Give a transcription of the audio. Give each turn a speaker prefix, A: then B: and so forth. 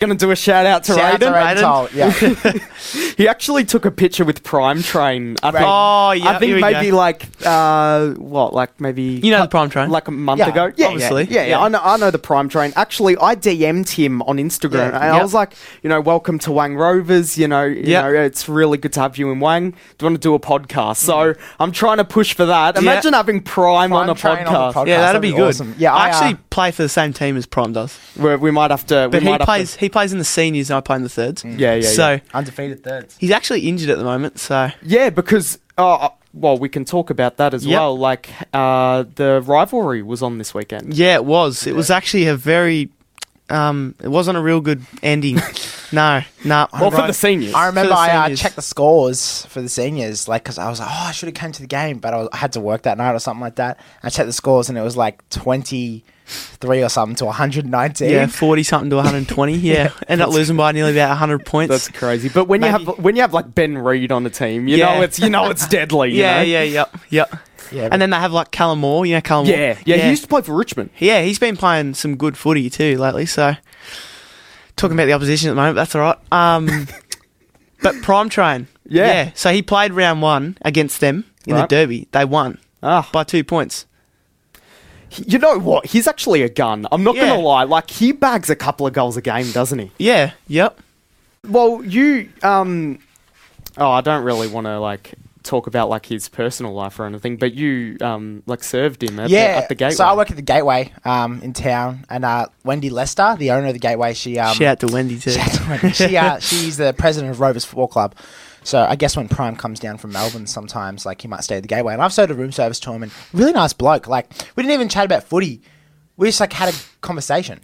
A: Going to do a shout out to
B: Shout out to
A: Raiden.
B: Raiden Toll, yeah.
A: he actually took a picture with Prime Train. I think,
C: Oh, yeah,
A: I think
C: here we
A: maybe
C: go.
A: like uh, what, like maybe you
C: know the Prime Train.
A: like a month
B: Yeah,
A: ago. Yeah,
C: obviously.
A: Yeah, yeah, yeah.
C: Yeah.
A: I know, I know the Prime Train. Actually, I DM'd him on Instagram,
B: Yeah,
A: and
C: yeah.
A: I was like, you know, welcome to Wang Rovers. You know, you
C: Yeah.
A: know, it's really good to have you in Wang. Do you want to do a podcast? So I'm trying to push for that.
C: Mm-hmm. Yeah.
A: Imagine having Prime, on a
B: Prime Train on the
A: podcast.
B: pod-
C: Yeah,
B: Podcast,
C: that'd
B: that'd
C: be
B: be
C: good.
B: awesome. Yeah, I,
C: actually
B: uh,
C: play for the same team as Prime does,
A: Where we might have to.
C: but
A: we
C: he
A: might have
C: plays
A: To, Mm.
C: he plays in the seniors and I play in the thirds.
A: yeah, yeah.
C: so
A: yeah.
B: Undefeated thirds.
C: he's actually injured at the moment. So
A: Yeah, because uh, well, we can talk about that as
C: Yep.
A: well. Like uh, the rivalry was on this weekend.
C: yeah, it was. It was actually a very. Um, it wasn't a real good ending. no, no.
A: Well, for the seniors.
B: I remember
C: the
B: I uh,
C: seniors.
B: checked the scores for the seniors, like, because I was like, oh, I should have came to the game, but I, was, I had to work that night or something like that. I checked the scores, and it was like 23 or something to 119.
C: Yeah, forty something to one hundred twenty. Yeah, end up losing by nearly about hundred points.
A: That's crazy. But when you
C: Maybe-
A: have when you have like Ben Reed on the team, you
C: Yeah.
A: know it's you know it's deadly. you
C: yeah,
A: know?
C: yeah, yep, yep.
B: Yeah,
C: and then they have like Callum Moore. You know Callum Moore.
A: yeah, yeah. He used to play for Richmond.
C: Yeah, he's been playing some good footy too lately. So talking about the opposition at the moment, that's all right. Um, but Prime Train,
A: Yeah.
C: So he played round one against them in
A: Right.
C: the derby. They won uh,
A: Ah,
C: by two points.
A: you know what? He's actually a gun. I'm not
C: Yeah.
A: gonna lie. Like he bags a couple of goals a game, doesn't he?
C: Yeah. Yep.
A: Well, you um, oh, I don't really want to like talk about like his personal life or anything, but you um, like served him at,
B: yeah.
A: the, at the gateway.
B: So I work at the Gateway um, in town, and uh, Wendy Lester, the owner of the Gateway, she um,
C: Shout out to Wendy too.
B: Shout out to Wendy. she uh, she's the president of Rovers Football Club. So I guess when Prime comes down from Melbourne, sometimes like he might stay at the Gateway, and I've started a room service to him, and really nice bloke. Like we didn't even chat about footy, we just like had a conversation.